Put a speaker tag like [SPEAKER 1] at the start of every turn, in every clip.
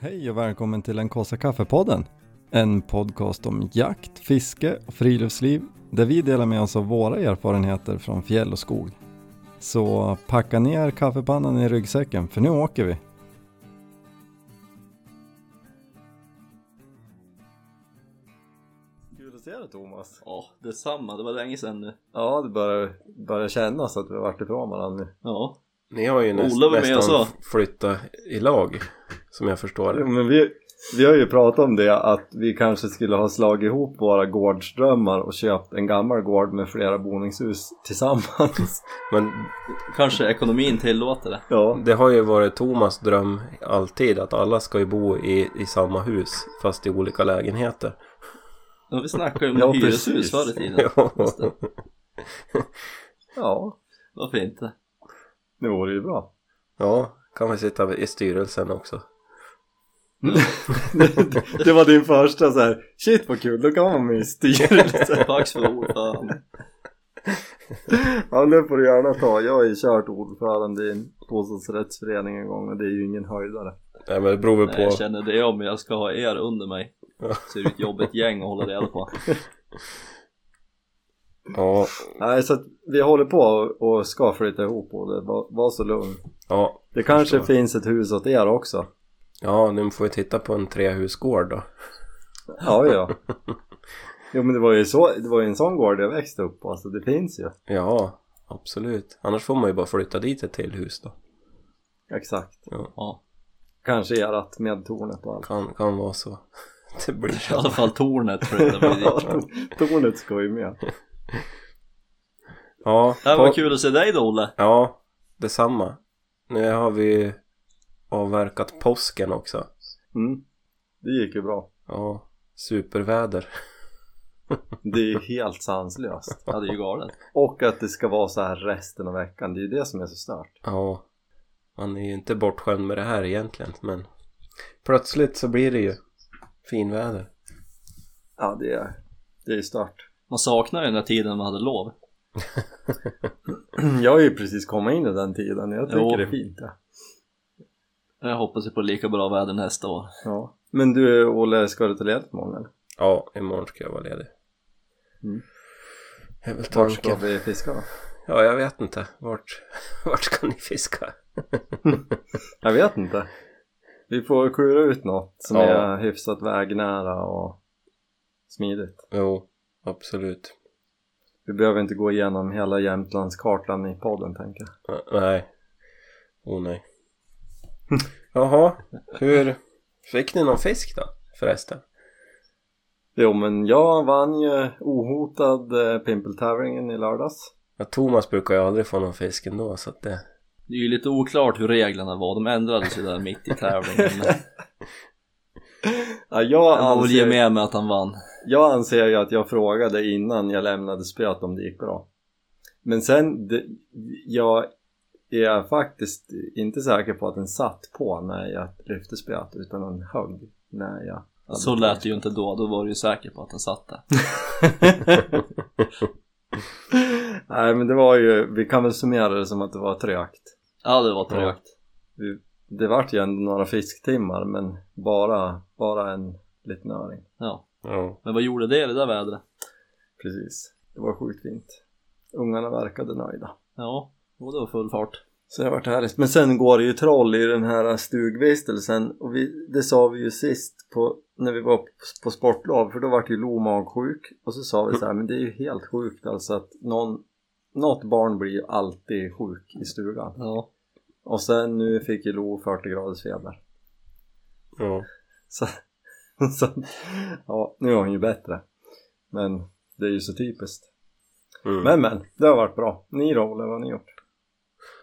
[SPEAKER 1] Hej och välkommen till den kaffe kaffepodden. En podcast om jakt, fiske och friluftsliv där vi delar med oss av våra erfarenheter från fjäll och skog. Så packa ner kaffepannan i ryggsäcken för nu åker vi. Kul att se dig Thomas.
[SPEAKER 2] Ja, detsamma. Det var länge sedan nu.
[SPEAKER 1] Ja, det börjar, börjar kännas att vi har varit ifrån varandra nu.
[SPEAKER 2] Ja.
[SPEAKER 3] Ni har ju näst,
[SPEAKER 2] Ola var med
[SPEAKER 3] nästan
[SPEAKER 2] också.
[SPEAKER 3] flyttat i lag Som jag förstår
[SPEAKER 1] Jo,
[SPEAKER 3] det
[SPEAKER 1] men vi, vi har ju pratat om det att vi kanske skulle ha slagit ihop våra gårdsdrömmar och köpt en gammal gård med flera boningshus tillsammans.
[SPEAKER 3] Men
[SPEAKER 2] Kanske ekonomin tillåter det.
[SPEAKER 1] ja,
[SPEAKER 3] det har ju varit Thomas dröm alltid Att alla ska ju bo i, i samma hus Fast i olika lägenheter
[SPEAKER 2] Ja, Vi snackade ju om
[SPEAKER 1] Ja, precis.
[SPEAKER 2] hyreshus förr i tiden.
[SPEAKER 3] Ja.
[SPEAKER 2] Just det.
[SPEAKER 1] ja,
[SPEAKER 2] Varför inte?
[SPEAKER 1] det vore ju bra.
[SPEAKER 3] Ja, kan vi sitta i styrelsen också
[SPEAKER 1] det var din första så här, shit vad kul, då kan man vara med i styrelsen.
[SPEAKER 2] Pax för ordförande.
[SPEAKER 1] ja, det får du gärna ta. Jag har ju kört ordförande i en bostadsrättsförening en gång och det är ju ingen höjdare.
[SPEAKER 3] Nej men det beror väl
[SPEAKER 2] Nej, jag
[SPEAKER 3] på
[SPEAKER 2] känner det om jag ska ha er under mig. Så är det ett jobbigt gäng att hålla reda på.
[SPEAKER 3] ja,
[SPEAKER 1] Nej, så att vi håller på och ska flytta ihop och det var, var så lugn.
[SPEAKER 3] ja,
[SPEAKER 1] Det kanske
[SPEAKER 3] Förstår.
[SPEAKER 1] finns ett hus åt er också.
[SPEAKER 3] ja, nu får vi titta på en trehusgård då
[SPEAKER 1] Ja, ja. Jo men det var ju, så, det var ju en sån gård jag växte upp på, så det finns ju.
[SPEAKER 3] Ja, absolut Annars får man ju bara flytta dit ett till hus då
[SPEAKER 1] Exakt.
[SPEAKER 2] Ja.
[SPEAKER 1] Kanske erat med tornet och allt.
[SPEAKER 3] Kan, kan vara så Det blir
[SPEAKER 2] I alla
[SPEAKER 3] så
[SPEAKER 2] fall tornet flyttar vi dit.
[SPEAKER 1] tornet ska ju med.
[SPEAKER 3] Ja,
[SPEAKER 2] Det här
[SPEAKER 3] på-
[SPEAKER 2] var kul att se dig då Olle.
[SPEAKER 3] Ja, detsamma. Nu har vi avverkat påsken också.
[SPEAKER 1] Mm. Det gick ju bra.
[SPEAKER 3] Ja, superväder.
[SPEAKER 1] Det är ju helt sanslöst.
[SPEAKER 2] Ja, det är ju galet.
[SPEAKER 1] Och att det ska vara så här resten av veckan, det är ju det som är så stört.
[SPEAKER 3] Ja, man är ju inte bortskämd med det här egentligen, men plötsligt så blir det ju finväder.
[SPEAKER 1] Ja, det är, det är stört.
[SPEAKER 2] Man saknar ju den där tiden man hade lov.
[SPEAKER 1] Mm, Jag har ju precis kommit in i den tiden, jag tycker
[SPEAKER 2] Jo.
[SPEAKER 1] det är fint det.
[SPEAKER 2] Jag hoppas ju på lika bra väder nästa år.
[SPEAKER 1] Ja. Men du Olle, ska du ta ledigt imorgon eller?
[SPEAKER 3] Ja, imorgon ska jag vara ledig.
[SPEAKER 1] Mm.
[SPEAKER 3] Det är väl
[SPEAKER 1] Vart ska
[SPEAKER 3] tanken.
[SPEAKER 1] vi fiska då?
[SPEAKER 3] Ja, jag vet inte. Vart, vart ska ni fiska?
[SPEAKER 1] Jag vet inte. Vi får klura ut något som
[SPEAKER 3] Ja.
[SPEAKER 1] är hyfsat vägnära och smidigt.
[SPEAKER 3] Jo, absolut.
[SPEAKER 1] Vi behöver inte gå igenom hela Jämtlandskartan i podden tänker jag.
[SPEAKER 3] Ä- Nej. Oh nej. Jaha, hur... Fick ni någon fisk då? Förresten?
[SPEAKER 1] Jo men jag vann ju ohotad eh, pimpeltävlingen i lördags.
[SPEAKER 3] Ja, Thomas brukar ju aldrig få någon fisk ändå så att det...
[SPEAKER 2] Det är ju lite oklart hur reglerna var. De ändrades ju där mitt i tävlingen. Men
[SPEAKER 1] Ja, jag,
[SPEAKER 2] jag vill ge
[SPEAKER 1] anser,
[SPEAKER 2] med mig att han vann.
[SPEAKER 1] jag anser ju att jag frågade innan jag lämnade spöet om det gick bra. Men sen, det, jag är faktiskt inte säker på att den satt på när jag lyfte spöet utan den högg när jag hade
[SPEAKER 2] Så lät det ju inte då, då var du ju säker på att den satt där.
[SPEAKER 1] Nej men det var ju, vi kan väl summera det som att det var trögt.
[SPEAKER 2] Ja det var trögt.
[SPEAKER 1] Vi- Det vart ju ändå några fisktimmar men bara, bara en liten öring.
[SPEAKER 2] Ja.
[SPEAKER 3] Ja.
[SPEAKER 2] Men vad gjorde det i det där vädret?
[SPEAKER 1] Precis. Det var sjukt fint. Ungarna verkade nöjda.
[SPEAKER 2] Ja, jo, det var full fart.
[SPEAKER 1] Så det vart härligt. Men sen går det ju troll i den här stugvistelsen och vi, det sa vi ju sist på, när vi var på, på sportlov för då vart ju Lo magsjuk och så sa vi så här, men det är ju helt sjukt alltså att någon, något barn blir ju alltid sjuk i stugan.
[SPEAKER 2] Ja.
[SPEAKER 1] Och sen nu fick ju Lo 40 graders feber.
[SPEAKER 3] ja.
[SPEAKER 1] Så, så ja, nu är hon ju bättre. Men det är ju så typiskt.
[SPEAKER 3] Mm.
[SPEAKER 1] Men men, det har varit bra. Ni då, Olle, vad har ni gjort?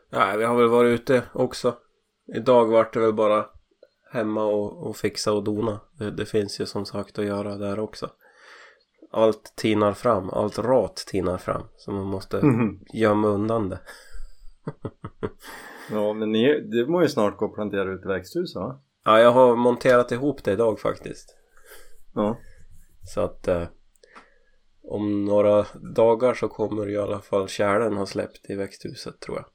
[SPEAKER 3] Nej, vi har väl varit ute också. Idag vart det väl bara hemma och, och fixa och dona. Det, det finns ju som sagt att göra där också. Allt tinar fram, allt rat tinar fram. Så man måste gömma undan det.
[SPEAKER 1] Ja, men ni, du må ju snart gå och plantera ut i växthuset va?
[SPEAKER 3] Ja, jag har monterat ihop det idag faktiskt.
[SPEAKER 1] Ja.
[SPEAKER 3] Så att eh, om några dagar så kommer i alla fall kärlen ha släppt i växthuset tror jag.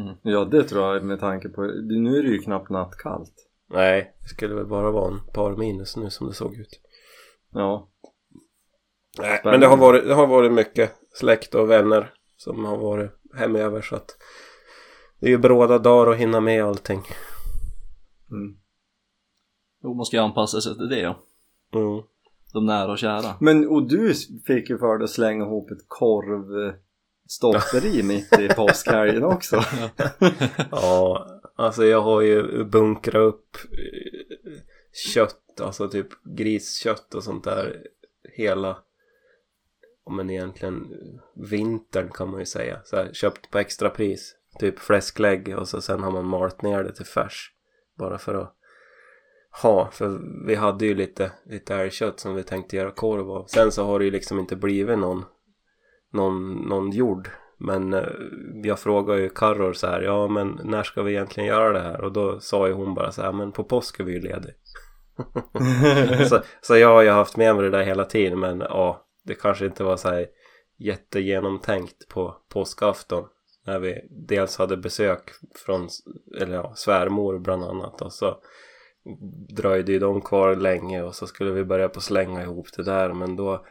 [SPEAKER 2] Mm.
[SPEAKER 1] ja, det tror jag med tanke på, nu är det ju knappt nattkallt.
[SPEAKER 3] Nej, det skulle väl bara vara en par minus nu som det såg ut.
[SPEAKER 1] Ja.
[SPEAKER 3] Nej,
[SPEAKER 1] Spännande.
[SPEAKER 3] men det har, varit, det har varit mycket släkt och vänner som har varit hemöver så att det är ju bråda dagar att hinna med allting.
[SPEAKER 1] Mm.
[SPEAKER 2] Jo, man ska ju anpassa sig till det ja.
[SPEAKER 3] Mm.
[SPEAKER 2] De nära och kära.
[SPEAKER 1] Men och du fick ju för dig att slänga ihop ett korvstopperi mitt i påskhelgen också.
[SPEAKER 3] Ja, alltså jag har ju bunkrat upp eh, kött, alltså typ griskött och sånt där hela, ja, men egentligen eh, vintern kan man ju säga. Så här, köpt på extrapris, typ fläsklägg och så sen har man malt ner det till färs. Bara för att ha, för vi hade ju lite, lite älgkött som vi tänkte göra korv av. Sen så har det ju liksom inte blivit någon någon, någon jord. Men eh, jag frågade ju Karor så här, ja men när ska vi egentligen göra det här? Och då sa ju hon bara så här, men på påsk är vi ju ledig. så, så jag har ju haft med mig det där hela tiden, men ja, det kanske inte var så här jättegenomtänkt på påskafton. När vi dels hade besök från, s- eller ja, svärmor bland annat och så dröjde ju de kvar länge och så skulle vi börja på slänga ihop det där, men då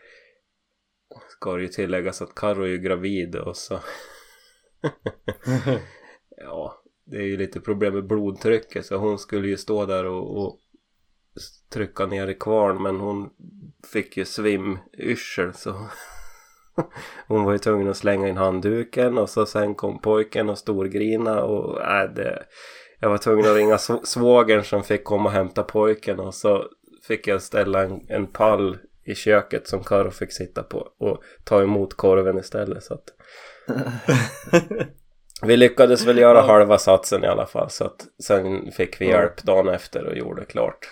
[SPEAKER 3] ska det ju tilläggas att Karo är ju gravid och så... ja, det är ju lite problem med blodtrycket så hon skulle ju stå där och, och s- trycka ner i kvarn men hon fick ju svimyrsel så hon var ju tvungen att slänga in handduken och så sen kom pojken och storgrina och äh, det, jag var tvungen att ringa sv- svågern som fick komma och hämta pojken och så fick jag ställa en, en pall i köket som Karo fick sitta på och ta emot korven istället så att vi lyckades väl göra halva satsen i alla fall så att sen fick vi
[SPEAKER 1] Ja.
[SPEAKER 3] hjälp dagen efter och gjorde klart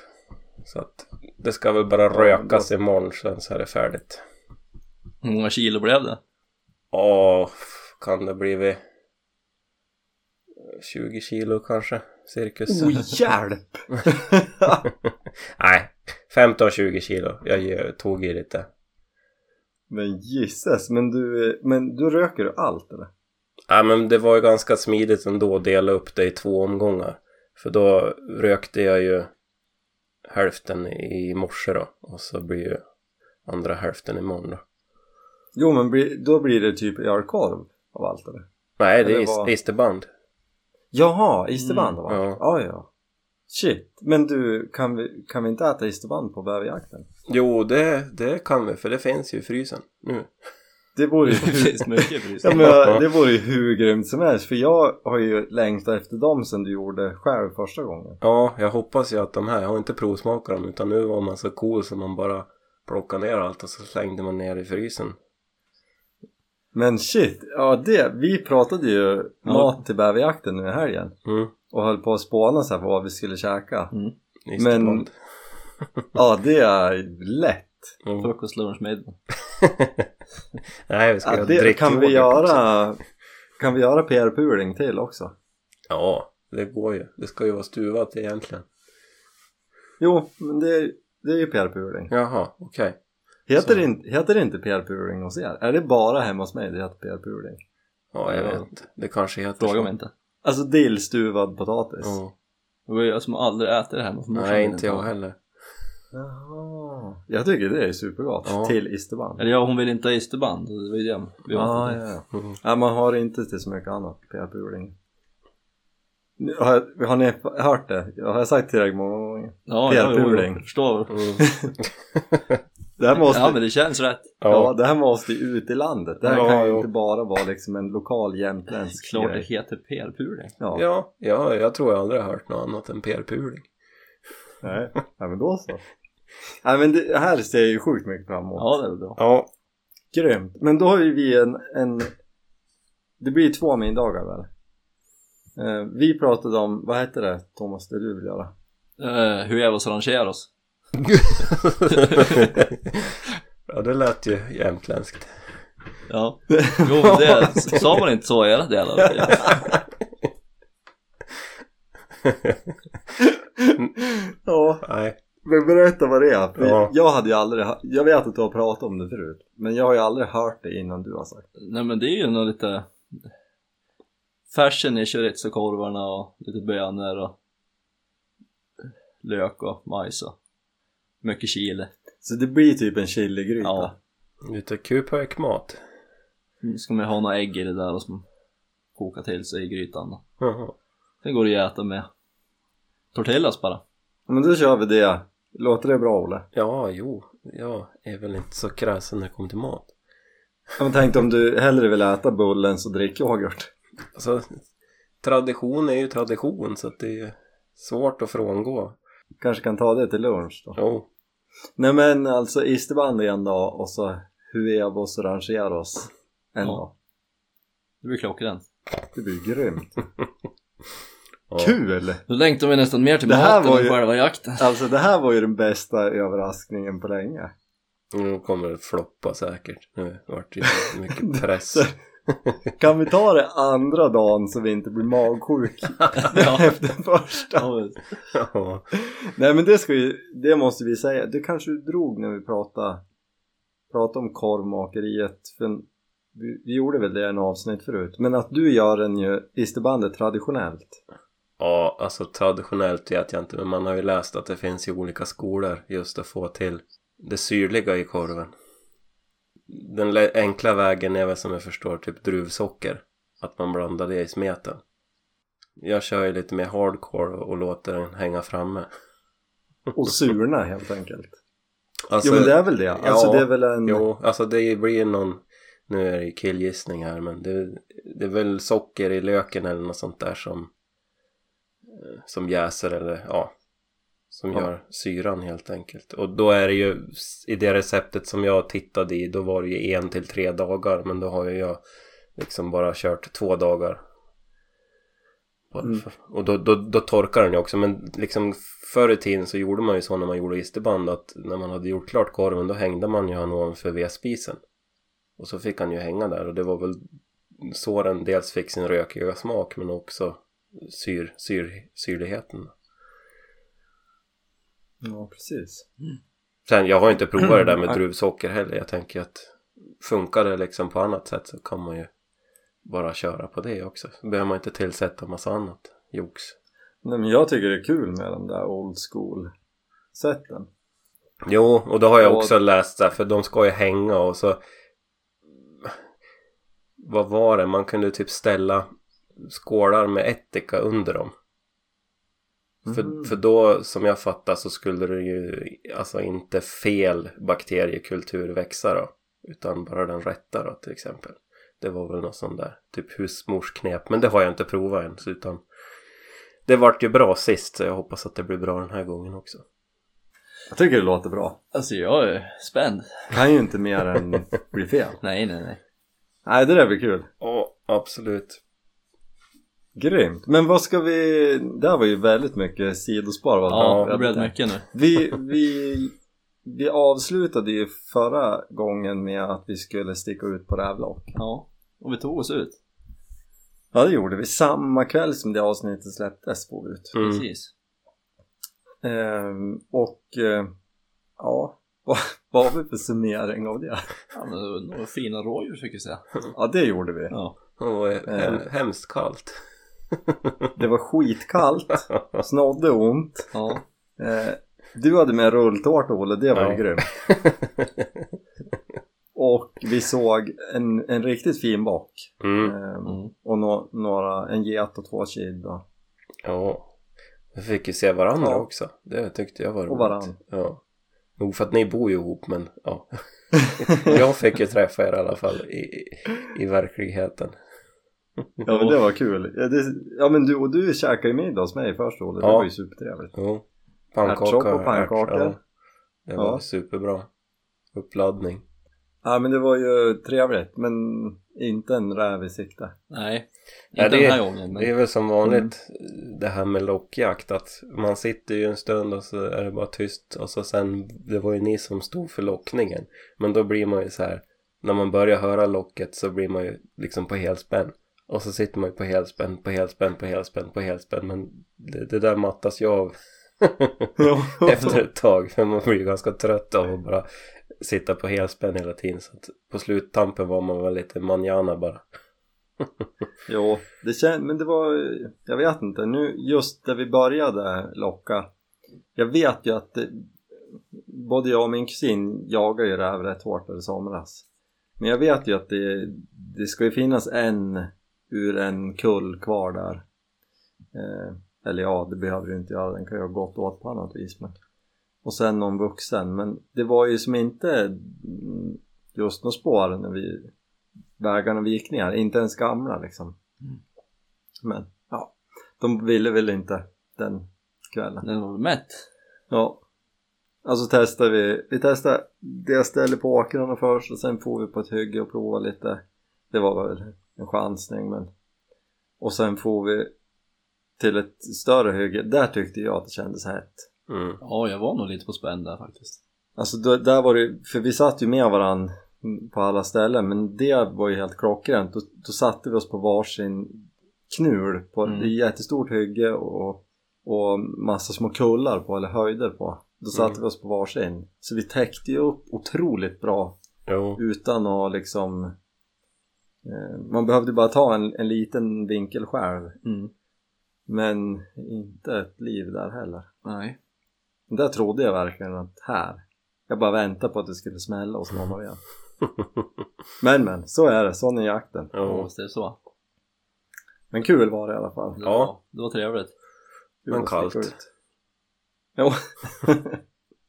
[SPEAKER 3] så att det ska väl bara rökas imorgon sen så är det färdigt
[SPEAKER 2] Hur många kilo blev det?
[SPEAKER 3] Ja, kan det blivit 20 kilo kanske cirkus
[SPEAKER 1] Oj hjälp!
[SPEAKER 3] nej 15-20 kilo jag ge- tog i lite
[SPEAKER 1] Men gisses, men du, men du röker du allt eller?
[SPEAKER 3] Ja men det var ju ganska smidigt ändå att dela upp det i två omgångar. För då rökte jag ju hälften i morse då och så blir ju andra hälften imorgon då.
[SPEAKER 1] Jo men bli, då blir det typ ölkorv av allt eller?
[SPEAKER 3] Nej det är
[SPEAKER 1] Eller
[SPEAKER 3] is-
[SPEAKER 1] vad?
[SPEAKER 3] isterband.
[SPEAKER 1] Jaha, isterband av
[SPEAKER 3] Mm,
[SPEAKER 1] allt? Ja. ja. Shit, men du kan vi, kan vi inte äta isterband på bäverjakten?
[SPEAKER 3] Jo det, det kan vi för det finns ju i frysen nu.
[SPEAKER 1] Det vore
[SPEAKER 2] Det
[SPEAKER 1] ju
[SPEAKER 2] finns mycket pris.
[SPEAKER 1] Ja, men det vore ju hur grymt som helst för jag har ju längtat efter dem sen du gjorde själv första gången.
[SPEAKER 3] Ja jag hoppas ju att de här, jag har inte provsmakat dem utan nu var man så cool så man bara plockade ner allt och så slängde man ner i frysen.
[SPEAKER 1] Men shit, ja det, vi pratade ju mat till bäverjakten nu i helgen
[SPEAKER 3] Mm,
[SPEAKER 1] och höll på att spåna så här på vad vi skulle käka.
[SPEAKER 3] isterband.
[SPEAKER 1] Ja det är lätt.
[SPEAKER 3] Mm.
[SPEAKER 2] Frukost, lunch, middag.
[SPEAKER 3] Nej vi ska
[SPEAKER 1] Ja,
[SPEAKER 3] ja,
[SPEAKER 1] det kan vi göra, kan vi göra PR-puling till också?
[SPEAKER 3] Ja, det går ju. Det ska ju vara stuvat egentligen.
[SPEAKER 1] Jo, men det är, det är ju PR-puling.
[SPEAKER 3] Jaha, okej.
[SPEAKER 1] Heter,
[SPEAKER 3] Så.
[SPEAKER 1] det inte- heter det inte PR-puling hos er? Är det bara hemma hos mig det heter PR-puling?
[SPEAKER 3] Ja, jag
[SPEAKER 2] Ja.
[SPEAKER 3] vet inte. Det kanske heter
[SPEAKER 2] Fråga
[SPEAKER 3] så.
[SPEAKER 2] mig inte.
[SPEAKER 1] Alltså dillstuvad potatis.
[SPEAKER 3] Ja.
[SPEAKER 2] Det var ju jag som aldrig äter det här. men morsan
[SPEAKER 3] Nej,
[SPEAKER 2] vill
[SPEAKER 3] inte jag
[SPEAKER 2] ha.
[SPEAKER 3] heller.
[SPEAKER 1] Jaha. Jag tycker det är supergott.
[SPEAKER 3] Ja.
[SPEAKER 1] Till isterband.
[SPEAKER 2] Eller ja, hon vill inte ha isterband. Det var ju det vi åt
[SPEAKER 1] ah,
[SPEAKER 2] det.
[SPEAKER 1] ja, ja.
[SPEAKER 3] Mm.
[SPEAKER 1] Nej, man har inte till så mycket annat PR-puling. Nu- Har, jag- har ni hört det? Jag har sagt tillräckligt många gånger.
[SPEAKER 2] Ja, ja, jo, jo,
[SPEAKER 1] PR-puling.
[SPEAKER 2] jag förstår.
[SPEAKER 3] Mm.
[SPEAKER 1] Det här måste,
[SPEAKER 2] Ja, men det känns rätt.
[SPEAKER 1] Ja,
[SPEAKER 3] Ja,
[SPEAKER 1] det här måste ju ut i landet. Det här
[SPEAKER 3] Ja,
[SPEAKER 1] kan ju
[SPEAKER 3] jo.
[SPEAKER 1] inte bara vara liksom en lokal jämtländsk
[SPEAKER 2] Klart det
[SPEAKER 1] grej.
[SPEAKER 2] heter PR-puling.
[SPEAKER 1] Ja.
[SPEAKER 3] ja, ja, jag tror jag aldrig har hört något annat än PR-puling.
[SPEAKER 1] Nej. Nej, men då så. Nej, men det här ser jag ju sjukt mycket fram emot.
[SPEAKER 2] Ja, det är väl bra.
[SPEAKER 3] Ja.
[SPEAKER 1] Grymt. Men då har ju vi en, en... Det blir två middagar väl? Eh, vi pratade om, vad hette det Thomas, det du vill göra?
[SPEAKER 2] Eh, hur är oss rangeros?
[SPEAKER 3] ja, det lät ju jämtländskt.
[SPEAKER 2] Ja. Jo, men det sa man inte så i era delar.
[SPEAKER 1] Ja,
[SPEAKER 3] Nej.
[SPEAKER 1] men berätta vad det är. För
[SPEAKER 3] Ja.
[SPEAKER 1] Jag hade ju aldrig, hö- jag vet att du har pratat om det förut, men jag har ju aldrig hört det innan du har sagt det.
[SPEAKER 2] Nej men det är ju nog lite Färsen i chorizo-korvarna och lite bönor och lök och majs och mycket chili.
[SPEAKER 1] Så det blir typ en chiligryta?
[SPEAKER 2] Ja.
[SPEAKER 3] Lite kupökmat.
[SPEAKER 1] Mm.
[SPEAKER 2] Nu ska man ju ha några ägg i det där och som kokar till sig i grytan då.
[SPEAKER 3] Jaha.
[SPEAKER 2] Sen går det ju att äta med tortillas bara.
[SPEAKER 1] Men då kör vi det. Låter det bra Olle?
[SPEAKER 3] Ja, jo. Jag är väl inte så kräsen när det kommer till mat.
[SPEAKER 1] Jag tänkte om du hellre vill äta bullen så drick yoghurt.
[SPEAKER 3] Alltså, tradition är ju tradition så att det är svårt att frångå.
[SPEAKER 1] Kanske kan ta det till lunch då.
[SPEAKER 3] Jo,
[SPEAKER 1] Nej men alltså isterband en dag och så huevos rangeros en
[SPEAKER 2] Ja.
[SPEAKER 1] dag.
[SPEAKER 2] Det blir klockrent.
[SPEAKER 1] Det blir grymt.
[SPEAKER 3] ja.
[SPEAKER 1] Kul!
[SPEAKER 2] Nu längtar vi nästan mer till
[SPEAKER 1] Det här
[SPEAKER 2] maten
[SPEAKER 1] var
[SPEAKER 2] än
[SPEAKER 1] ju-
[SPEAKER 2] själva jakten.
[SPEAKER 1] Alltså det här var ju den bästa överraskningen på länge.
[SPEAKER 3] Nu kommer det floppa säkert. Nu vart det ju mycket press.
[SPEAKER 1] Kan vi ta det andra dagen så vi inte blir magsjuk
[SPEAKER 2] ja.
[SPEAKER 1] efter första?
[SPEAKER 2] Ja, visst.
[SPEAKER 3] ja.
[SPEAKER 1] Nej men det, ska vi, det måste vi säga. Det kanske du drog när vi pratade, pratade om korvmakeriet. För vi, vi gjorde väl det i en avsnitt förut. Men att du gör den ju isterbandet traditionellt.
[SPEAKER 3] ja, alltså traditionellt vet jag inte men man har ju läst att det finns ju olika skolor just att få till det syrliga i korven. Den le- enkla vägen är väl som jag förstår typ druvsocker. Att man blandar det i smeten. Jag kör ju lite mer hardcore och låter den hänga framme.
[SPEAKER 1] Och surna helt enkelt.
[SPEAKER 3] Alltså,
[SPEAKER 1] jo men det är väl det. Alltså
[SPEAKER 3] ja,
[SPEAKER 1] det är väl en...
[SPEAKER 3] Jo, alltså det blir ju någon, nu är det ju killgissning här men det, det är väl socker i löken eller något sånt där som eh, som jäser eller ja som
[SPEAKER 1] Ja.
[SPEAKER 3] gör syran helt enkelt och då är det ju i det receptet som jag tittade i då var det ju en till tre dagar men då har ju jag liksom bara kört två dagar Bara
[SPEAKER 1] Mm.
[SPEAKER 3] för- och då, då, då torkar den ju också men liksom förr i tiden så gjorde man ju så när man gjorde isterband att när man hade gjort klart korven då hängde man ju han ovanför vedspisen och så fick han ju hänga där och det var väl så den dels fick sin rökiga smak men också syr, syr, syrligheten.
[SPEAKER 1] Ja precis.
[SPEAKER 3] Sen jag har ju inte provat det där med
[SPEAKER 1] Nej.
[SPEAKER 3] druvsocker heller. Jag tänker att funkar det liksom på annat sätt så kan man ju bara köra på det också. Så behöver man inte tillsätta massa annat jox.
[SPEAKER 1] Nej men jag tycker det är kul med de där old school sätten.
[SPEAKER 3] Jo, och då har jag
[SPEAKER 1] Och-
[SPEAKER 3] också läst där för de ska ju hänga och så... Vad var det? Man kunde typ ställa skålar med ättika under dem.
[SPEAKER 1] Mm.
[SPEAKER 3] För, för då, som jag fattar, så skulle det ju alltså inte fel bakteriekultur växa då. Utan bara den rätta då, till exempel. Det var väl något sånt där, typ husmorsknep. Men det har jag inte provat ens, utan... Det vart ju bra sist, så jag hoppas att det blir bra den här gången också.
[SPEAKER 1] Jag tycker det låter bra.
[SPEAKER 2] Alltså jag är spänd.
[SPEAKER 1] Kan ju inte mer än bli fel.
[SPEAKER 2] Nej, nej, nej.
[SPEAKER 1] Nej det där blir kul.
[SPEAKER 3] Ja, absolut.
[SPEAKER 1] Grymt. Men vad ska vi... Det här var ju väldigt mycket sidospår. vad
[SPEAKER 2] Ja,
[SPEAKER 1] vi
[SPEAKER 2] det
[SPEAKER 1] hade
[SPEAKER 2] blev
[SPEAKER 1] där.
[SPEAKER 2] mycket nu.
[SPEAKER 1] Vi, vi, vi avslutade ju förra gången med att vi skulle sticka ut på Rävlock.
[SPEAKER 2] Ja. Och vi tog oss ut.
[SPEAKER 1] Ja, det gjorde vi. Samma kväll som det avsnittet släpptes får vi ut.
[SPEAKER 3] Mm.
[SPEAKER 2] Precis.
[SPEAKER 1] Ehm, och eh, ja, vad, vad har vi för summering av det?
[SPEAKER 2] Ja, men det var några fina rådjur fick jag säga.
[SPEAKER 1] Ja, det gjorde vi.
[SPEAKER 2] Ja.
[SPEAKER 3] Och hem,
[SPEAKER 1] Eh.
[SPEAKER 3] hemskt kallt.
[SPEAKER 1] Det var skitkallt, snodde ont.
[SPEAKER 2] ja.
[SPEAKER 1] Eh, du hade med rulltårta, Olle. Det var
[SPEAKER 3] Ja.
[SPEAKER 1] ju grymt. Och vi såg en, en riktigt fin bock.
[SPEAKER 3] Mm.
[SPEAKER 1] Ehm,
[SPEAKER 2] Mm.
[SPEAKER 1] Och nå- några, en get och två kid och,
[SPEAKER 3] Ja. Vi fick ju se varandra
[SPEAKER 1] Ja.
[SPEAKER 3] också. Det tyckte jag var roligt.
[SPEAKER 1] och varann.
[SPEAKER 3] Ja. Nog för att ni bor ju ihop men ja. jag fick ju träffa er i alla fall i, i, i verkligheten.
[SPEAKER 1] Ja men det var kul. Ja, det, ja men du, och du käkade ju middag hos mig först Olle, det
[SPEAKER 3] Ja.
[SPEAKER 1] var ju supertrevligt.
[SPEAKER 3] Jo.
[SPEAKER 1] Ärtsoppa
[SPEAKER 3] Pannkaka.
[SPEAKER 1] och pannkaka.
[SPEAKER 3] ärt- Ja. Det var
[SPEAKER 1] Ja.
[SPEAKER 3] superbra. Uppladdning.
[SPEAKER 1] Ja men det var ju trevligt men inte en räv i sikte.
[SPEAKER 2] Nej. Inte
[SPEAKER 3] Ja, det-
[SPEAKER 2] den här gången. Men... Mm.
[SPEAKER 3] Det är väl som vanligt det här med lockjakt att man sitter ju en stund och så är det bara tyst och så sen det var ju ni som stod för lockningen men då blir man ju så här när man börjar höra locket så blir man ju liksom på helspänn och så sitter man ju på helspänn, på helspänn, på helspänn, på helspänn men det, det där mattas ju av efter ett tag för man blir ju ganska trött av att bara sitta på helspänn hela tiden så att på sluttampen var man väl lite manjana bara.
[SPEAKER 1] jo, det känd, men det var, jag vet inte, nu just där vi började locka Jag vet ju att eh, både jag och min kusin jagar ju räv rätt hårt över somras. Men jag vet ju att det, det ska ju finnas en ur en kull kvar där. Eh, eller ja, det behöver du inte göra, den kan ju ha gått åt på annat vis. Men... Och sen någon vuxen, men det var ju som inte mm, just några spår när vi, vägarna vi gick ner, inte ens gamla liksom. Men ja, de ville väl inte den kvällen.
[SPEAKER 2] Den var väl mätt?
[SPEAKER 1] Ja. Alltså testar vi, vi testar det ställe på åkrarna först och sen får vi på ett hygge och prova lite. Det var väl en chansning men. Och sen får vi till ett större hygge. Där tyckte jag att det kändes hett.
[SPEAKER 3] Mm.
[SPEAKER 2] Ja, jag var nog lite på spänn där faktiskt.
[SPEAKER 1] Alltså då, där var det för vi satt ju med varann på alla ställen men det var ju helt klockrent. Då, då satte vi oss på varsin knul på
[SPEAKER 2] Mm.
[SPEAKER 1] ett jättestort hygge och, och massa små kullar på eller höjder på. Då satte
[SPEAKER 3] Mm.
[SPEAKER 1] vi oss på varsin. Så vi täckte ju upp otroligt bra
[SPEAKER 3] Jo.
[SPEAKER 1] utan att liksom eh, man behövde bara ta en, en liten vinkel själv
[SPEAKER 2] Mm.
[SPEAKER 1] men inte ett liv där heller.
[SPEAKER 2] Nej.
[SPEAKER 1] Där trodde jag verkligen att här. Jag bara väntade på att det skulle smälla och så var man igen. Men men, så är det. Sån är jakten.
[SPEAKER 2] Ja,
[SPEAKER 3] jo.
[SPEAKER 2] visst är det så.
[SPEAKER 1] Men kul var det i alla fall.
[SPEAKER 2] Det
[SPEAKER 3] Ja.
[SPEAKER 2] var, ja. Det var trevligt.
[SPEAKER 1] Kul
[SPEAKER 3] Men
[SPEAKER 1] att sticka
[SPEAKER 3] kallt.
[SPEAKER 1] ut. Jo.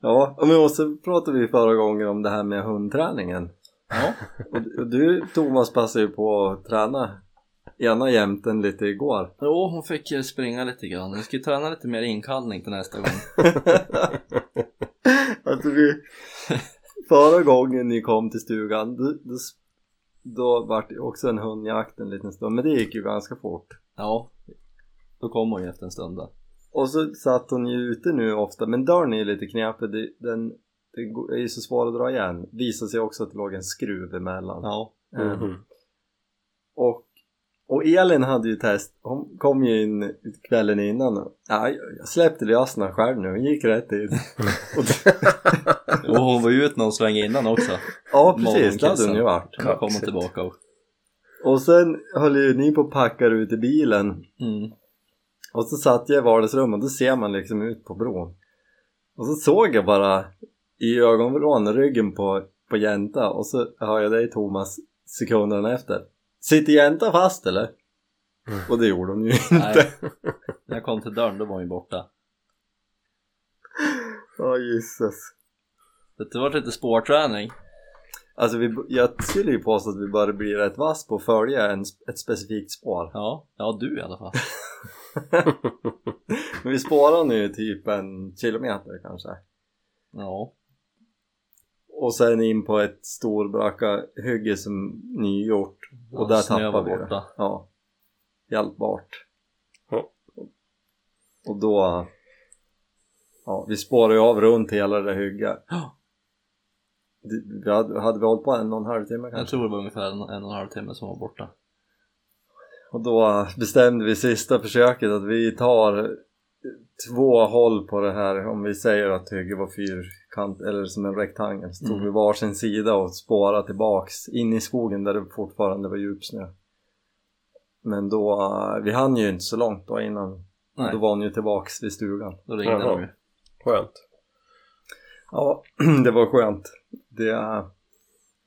[SPEAKER 1] ja, men och så pratade vi förra gången om det här med hundträningen.
[SPEAKER 2] Ja.
[SPEAKER 1] Och, och du Thomas passade ju på att träna ena jämten lite igår.
[SPEAKER 2] Jo, hon fick eh, springa lite grann. Jag ska ju träna lite mer inkallning till nästa gång.
[SPEAKER 1] Alltså vi, förra gången ni kom till stugan då, då, s- då var det också en hundjakt en liten stund men det gick ju ganska fort.
[SPEAKER 2] Ja. Då kom hon ju efter en stund där.
[SPEAKER 1] Och så satt hon ju ute nu ofta men dörren är ju lite knepig. Det, den, det går- är ju så svår att dra igen. Visar sig också att det låg en skruv emellan.
[SPEAKER 2] Ja.
[SPEAKER 1] Eh,
[SPEAKER 3] Mhm.
[SPEAKER 1] Och, och Elin hade ju test, hon kom ju in kvällen innan och, ja, jag släppte lösna själv nu, hon gick rätt in.
[SPEAKER 2] Och hon var ju ute någon sväng innan också.
[SPEAKER 1] Ja precis, det hade hon ju varit.
[SPEAKER 2] Hon kom
[SPEAKER 3] Kaxigt.
[SPEAKER 2] tillbaka och...
[SPEAKER 1] Och sen höll ju ni på att packa ut i bilen
[SPEAKER 2] Mm.
[SPEAKER 1] och så satt jag i vardagsrummet och då ser man liksom ut på bron. Och så såg jag bara i ögonvrån ryggen på, på Jänta och så hör jag dig Thomas sekunderna efter. Sitter Jänta fast eller? Och det gjorde hon ju
[SPEAKER 2] Nej.
[SPEAKER 1] inte.
[SPEAKER 2] När jag kom till dörren då var hon ju borta.
[SPEAKER 1] Ja jisses.
[SPEAKER 2] Så Det var lite spårträning.
[SPEAKER 1] Alltså vi, jag skulle ju påstå att vi börjar bli rätt vass på att följa en, ett specifikt spår.
[SPEAKER 2] Ja. Ja, du i alla fall.
[SPEAKER 1] Men vi spårar nu typ en kilometer kanske.
[SPEAKER 2] Ja.
[SPEAKER 1] Och sen in på ett storbraka hygge som nygjort. Och
[SPEAKER 2] Ja,
[SPEAKER 1] där
[SPEAKER 2] snö var
[SPEAKER 1] tappar vi det.
[SPEAKER 2] borta.
[SPEAKER 1] Ja. Hjälpbart.
[SPEAKER 3] Ja.
[SPEAKER 1] Och då... Ja, vi spårar ju av runt hela det där hygget.
[SPEAKER 2] Ja.
[SPEAKER 1] Det- Vi hade, hade vi hållit på en och en halv timme
[SPEAKER 2] Jag
[SPEAKER 1] kanske?
[SPEAKER 2] tror det var ungefär en, en och en halv timme som var borta.
[SPEAKER 1] Och då bestämde vi sista försöket att vi tar två håll på det här. Om vi säger att hygget var fyrkant eller som en rektangel så tog
[SPEAKER 2] Mm.
[SPEAKER 1] vi varsin sida och spårade tillbaks in i skogen där det fortfarande var djupsnö. Men då, eh, vi hann ju inte så långt då innan.
[SPEAKER 2] Nej,
[SPEAKER 1] Då var hon ju tillbaks vid stugan.
[SPEAKER 2] då ringde
[SPEAKER 3] Jaha.
[SPEAKER 2] de ju.
[SPEAKER 3] Skönt.
[SPEAKER 1] Ja, det var skönt. Det,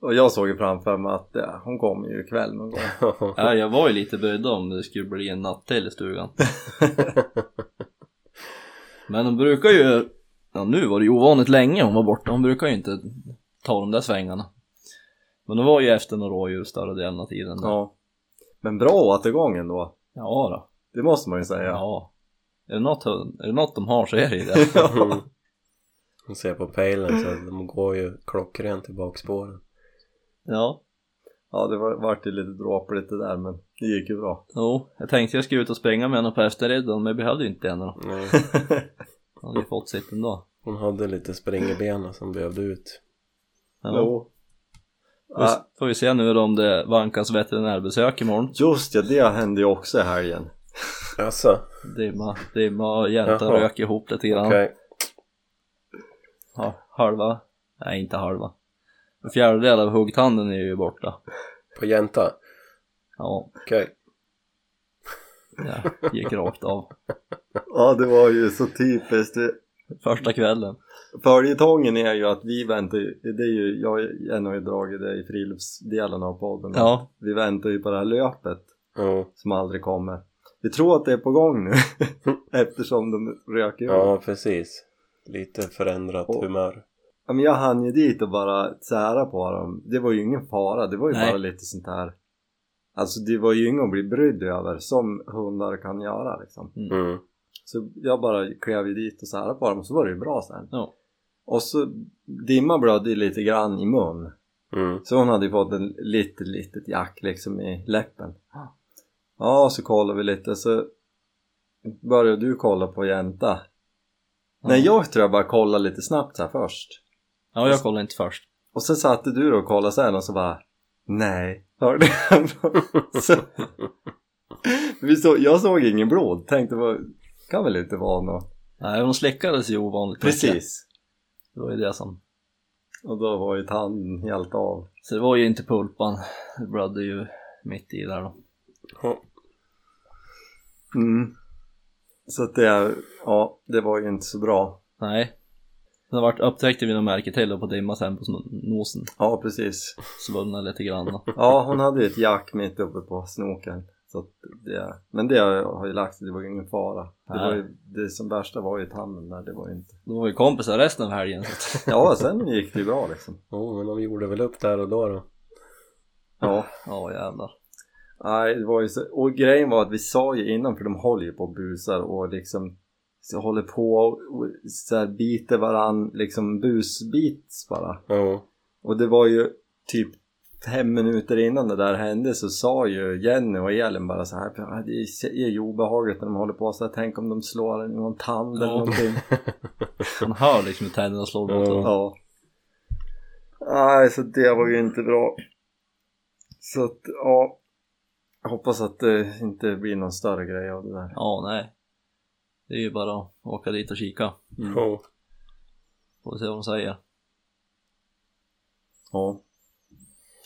[SPEAKER 1] och jag såg ju framför mig att eh, hon kommer ju ikväll någon gång.
[SPEAKER 2] Ja, jag var ju lite böjd om det skulle bli en natt till i stugan. Men de brukar ju, ja nu var det ju ovanligt länge hon var borta, hon brukar ju inte ta de där svängarna. Men hon var ju efter några rådjur större delen av tiden. Ja,
[SPEAKER 1] Ja. Men bra återgång ändå.
[SPEAKER 2] ja då.
[SPEAKER 1] Det måste man ju säga.
[SPEAKER 2] Ja. Är det, något, hund- är det något de har så är det ju det.
[SPEAKER 3] Mm. Man ser på pejlen så att de går ju klockrent i bakspåren.
[SPEAKER 2] Ja.
[SPEAKER 1] Ja det var, vart ju lite dråpligt det där men det gick ju bra.
[SPEAKER 2] Jo, jag tänkte jag skulle ut och springa med henne på efterriddagen men jag behövde ju inte henne då.
[SPEAKER 3] Nej,
[SPEAKER 2] Hon hade ju fått sitt ändå.
[SPEAKER 3] hon hade lite springerbena som behövde ut.
[SPEAKER 2] Ja. Får
[SPEAKER 1] Ja,
[SPEAKER 2] vi- Får vi se nu då om det vankas veterinärbesök imorgon.
[SPEAKER 1] just ja, det hände ju också i helgen.
[SPEAKER 3] Alltså,
[SPEAKER 2] Dimma, dimma och jäntan
[SPEAKER 3] Jaha.
[SPEAKER 2] rök ihop lite grann.
[SPEAKER 3] okej.
[SPEAKER 2] Ja, halva, nej inte halva. En fjärdedel av huggtanden är ju borta.
[SPEAKER 3] På jänta?
[SPEAKER 2] Ja,
[SPEAKER 3] Okej.
[SPEAKER 2] det gick rakt av.
[SPEAKER 1] Ja, det var ju så typiskt.
[SPEAKER 2] Första kvällen.
[SPEAKER 1] Följetongen är ju att vi väntar ju, det är ju, jag har ju dragit det i friluftsdelen av podden.
[SPEAKER 2] Ja.
[SPEAKER 1] Vi väntar ju på det här löpet
[SPEAKER 3] Ja,
[SPEAKER 1] som aldrig kommer. Vi tror att det är på gång nu eftersom de röker ju.
[SPEAKER 3] ja precis. Lite förändrat
[SPEAKER 1] Och-
[SPEAKER 3] humör.
[SPEAKER 1] Ja, men jag hann ju dit och bara sära på dem. Det var ju ingen fara, det var ju
[SPEAKER 2] Nej.
[SPEAKER 1] bara lite sånt här. Alltså det var ju inget att bli brydd över som hundar kan göra liksom.
[SPEAKER 3] Mm.
[SPEAKER 1] Så jag bara klev ju dit och särade på dem och så var det ju bra sen.
[SPEAKER 2] Ja.
[SPEAKER 1] Och så Dimma blödde ju lite grann i mun.
[SPEAKER 3] Mm.
[SPEAKER 1] Så hon hade ju fått en litet, litet jack liksom i läppen. Ja, så kollade vi lite så började du kolla på jänta. Nej, jag tror jag bara kollade lite snabbt så här först.
[SPEAKER 2] Ja, jag kollade inte först.
[SPEAKER 1] Och sen satte du då och kollade sen och så bara Nej, hörde jag. så, vi så, jag såg ingen blod, tänkte vad kan väl inte vara något.
[SPEAKER 2] Nej, de slickades ju ovanligt mycket.
[SPEAKER 1] Precis.
[SPEAKER 2] Det var ju det som...
[SPEAKER 1] Och då var ju tanden helt av.
[SPEAKER 2] Så det var ju inte pulpan. Det blödde ju mitt i där då.
[SPEAKER 3] Ja.
[SPEAKER 1] Mm. Så att det, ja, det var ju inte så bra.
[SPEAKER 2] Nej. Sen vart, upptäckte vi något märke till då på dimma sen på sno- nosen.
[SPEAKER 1] Ja, precis.
[SPEAKER 2] Svullnade lite grann då.
[SPEAKER 1] Ja, hon hade ju ett jack mitt uppe på snoken. Så att det, men det har ju lagt sig, det var ju ingen fara. Det, var ju, det som värsta var ju tanden där, det var ju inte...
[SPEAKER 2] Då var vi kompisar resten av helgen. Så att,
[SPEAKER 1] Ja, sen gick det ju bra liksom.
[SPEAKER 3] Jo, men de gjorde väl upp där och då då.
[SPEAKER 1] Ja.
[SPEAKER 2] ja jävlar.
[SPEAKER 1] Nej, det var ju så. Och grejen var att vi sa ju innan, för de håller ju på och busar och liksom så håller på och, och så här biter varann, liksom busbits bara.
[SPEAKER 3] Ja.
[SPEAKER 1] Och det var ju typ fem minuter innan det där hände så sa ju Jenny och Elin bara så här "Ja, det är ju obehagligt när de håller på så här, tänk om de slår en i någon tand eller
[SPEAKER 2] Ja.
[SPEAKER 1] någonting.
[SPEAKER 2] Man hör liksom hur tänderna slår mot
[SPEAKER 3] Ja.
[SPEAKER 2] varandra.
[SPEAKER 1] Ja. Nej, så det var ju inte bra. Så att, ja. Jag hoppas att det inte blir någon större grej av det där.
[SPEAKER 2] Ja, nej. Det är ju bara att åka dit och kika.
[SPEAKER 3] Ja.
[SPEAKER 2] Får vi se vad de säger.
[SPEAKER 1] Ja.